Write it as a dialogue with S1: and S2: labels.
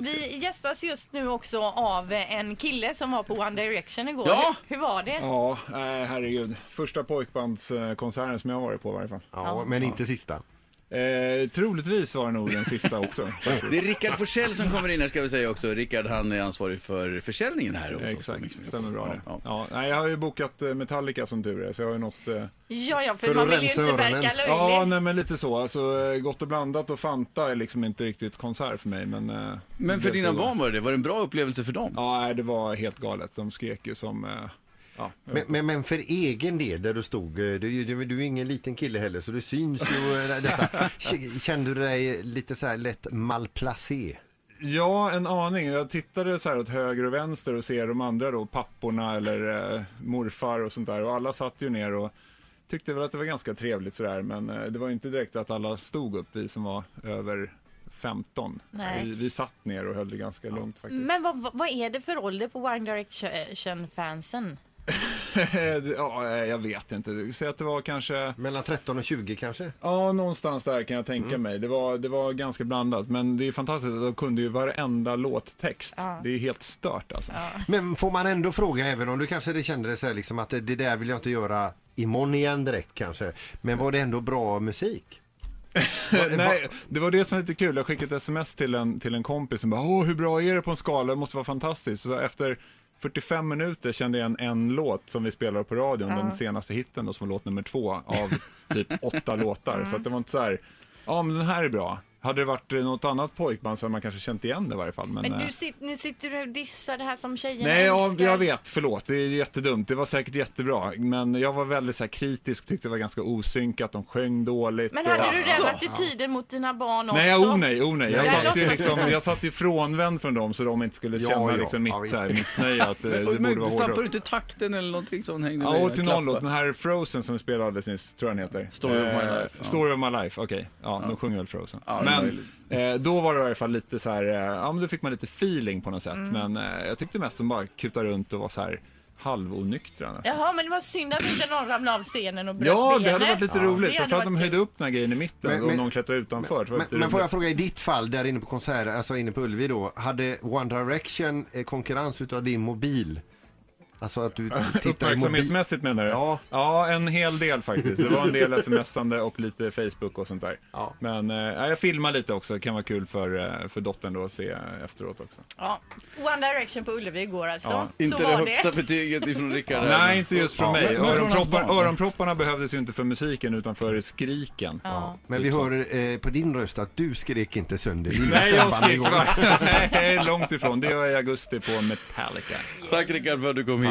S1: Vi gästas just nu också av en kille som var på One Direction igår.
S2: Ja.
S1: Hur var det?
S2: Ja, nej, herregud. Första pojkbandskonserten som jag har varit på i varje fall.
S3: Ja, men inte sista.
S2: Eh, troligtvis var det nog den sista också.
S4: Det är Rickard Forsell som kommer in här ska vi säga också. Rickard han är ansvarig för försäljningen här. hos oss.
S2: Exakt, stämmer bra det.
S4: Ja, ja.
S2: Ja, nej, jag har ju bokat eh, Metallica som tur är, så jag har ju något... Eh,
S1: Ja, ja, för,
S3: För
S1: man
S3: att
S1: vill ju
S3: rensa
S1: inte
S3: öronen.
S1: verka löjlig.
S2: ja, nej men lite så. Alltså, eh, gott och blandat och Fanta är liksom inte riktigt konsert för mig, men... Eh, det
S4: Men för
S2: blev
S4: dina
S2: så då.
S4: barn var det det? Var det en bra upplevelse för dem?
S2: Ja, nej, det var helt galet. De skrek ju som... Eh, ja,
S3: Men, men, men för egen del, där du stod, eh, du, du, du är ingen liten kille heller så du syns ju. eh, Detta. K- Kände du dig lite så här lätt malplacé?
S2: Ja, en aning. Jag tittade så här åt höger och vänster och ser de andra då, papporna eller eh, morfar och sånt där. Och alla satt ju ner och tyckte väl att det var ganska trevligt sådär. Men eh, det var ju inte direkt att alla stod upp, vi som var över 15.
S1: Nej.
S2: Vi, vi satt ner och höll det ganska lugnt faktiskt.
S1: Men vad, vad- vad är det för ålder på One Direction-fansen?
S2: ja, eh, jag vet inte. Säg att det var kanske...
S3: Mellan 13 och 20 kanske?
S2: Ja, någonstans där kan jag tänka mig. Det var, det var ganska blandat. Men det är fantastiskt att de kunde ju varenda låttext.
S1: Ja.
S2: Det är ju helt stört alltså.
S3: Men får man ändå fråga, även om du kanske det kände så här liksom att det det där vill jag inte göra imorgon igen direkt kanske. Men var det ändå bra musik?
S2: Nej, det var det som var lite kul. Jag skickade ett sms till en, till en kompis som bara Åh, hur bra är det på en skala? Det måste vara fantastiskt. Så efter 45 minuter kände jag igen en låt som vi spelade på radion, den senaste hitten då, som var låt nummer två av typ åtta låtar. Så att det var inte så här, ja men den här är bra. Hade det varit eh, något annat pojkband så hade man kanske känt igen det i varje fall. Men,
S1: Men
S2: eh,
S1: nu, sit, nu sitter du och dissar det här som tjejerna
S2: Nej, ja,
S1: älskar.
S2: jag vet. Förlåt, det är jättedumt. Det var säkert jättebra. Men jag var väldigt så här, kritisk, tyckte det var ganska osynkat, de sjöng dåligt.
S1: Men
S2: och-
S1: hade du den
S4: Jaså?
S1: attityden mot dina barn också?
S2: Alltså. Nej, oh nej, oh nej. Jag
S3: Nej,
S2: satt, ju
S1: låtsas
S2: liksom,
S1: det så.
S2: jag satt ju frånvänd från dem så de inte skulle
S3: Ja,
S2: känna
S3: ja,
S2: liksom mitt
S3: ja, visst.
S2: så här, missnöje att eh, det
S4: Men,
S2: borde vara
S4: stappar du
S2: hårdare.
S4: inte takten eller någonting som hängde
S2: Ja,
S4: i
S2: och till någon
S4: klappar?
S2: låt, den här Frozen som vi spelade alldeles nyss, tror jag den heter. Eh,
S4: Story of my life, ja.
S2: Story of my life, okej. Ja, de sjunger väl Frozen.
S4: Ja, det är
S2: men
S4: möjligt.
S2: eh, då var det i alla fall lite så här, eh, ja men då fick man lite feeling på något sätt. Men eh, jag tyckte mest de bara kutade runt och var så här halvonyktra nästan.
S1: Jaha, men det var synd att inte någon ramlade av scenen och bröt
S2: Ja, det hade
S1: benet.
S2: varit lite
S1: Ja.
S2: roligt.
S1: Det
S2: För,
S1: hade
S2: för att
S1: varit
S2: de höjde
S1: kul.
S2: upp den här grejen i mitten
S3: Men-
S2: och
S3: men-
S2: någon klättrade utanför. så var det
S3: Men,
S2: lite
S3: men får
S2: roligt.
S3: jag fråga i ditt fall där inne på konsert, alltså inne på Ullevi då, hade One Direction eh, konkurrens utav din mobil? Alltså att du tittar i mobil?
S2: Uppmärksamhetsmässigt menar du?
S3: Ja.
S2: ja, en hel del faktiskt. Det var en del smsande och lite Facebook och sånt där.
S3: Ja.
S2: Men eh, ja, jag filmar lite också, det kan vara kul för, eh, för dottern då att se eh, efteråt också.
S1: Ja. One Direction på Ullevi igår alltså.
S2: Ja,
S1: Så
S4: Inte det
S1: var
S4: högsta betyget ifrån Rickard.
S2: Nej, inte just från
S3: Eh, Ja,
S2: mig.
S4: men- men från hans
S2: Öronproppar,
S4: barn.
S2: öronpropparna behövdes ju inte för musiken utan för skriken.
S1: Ja.
S3: Men vi hör eh, på din röst att du skrek inte sönder lilla
S2: typ Nej, jag
S3: stabbarna
S2: skrek
S3: igår.
S2: bara- Nej, långt ifrån. Det gör jag i augusti på Metallica.
S4: Tack Rickard för att du kom hit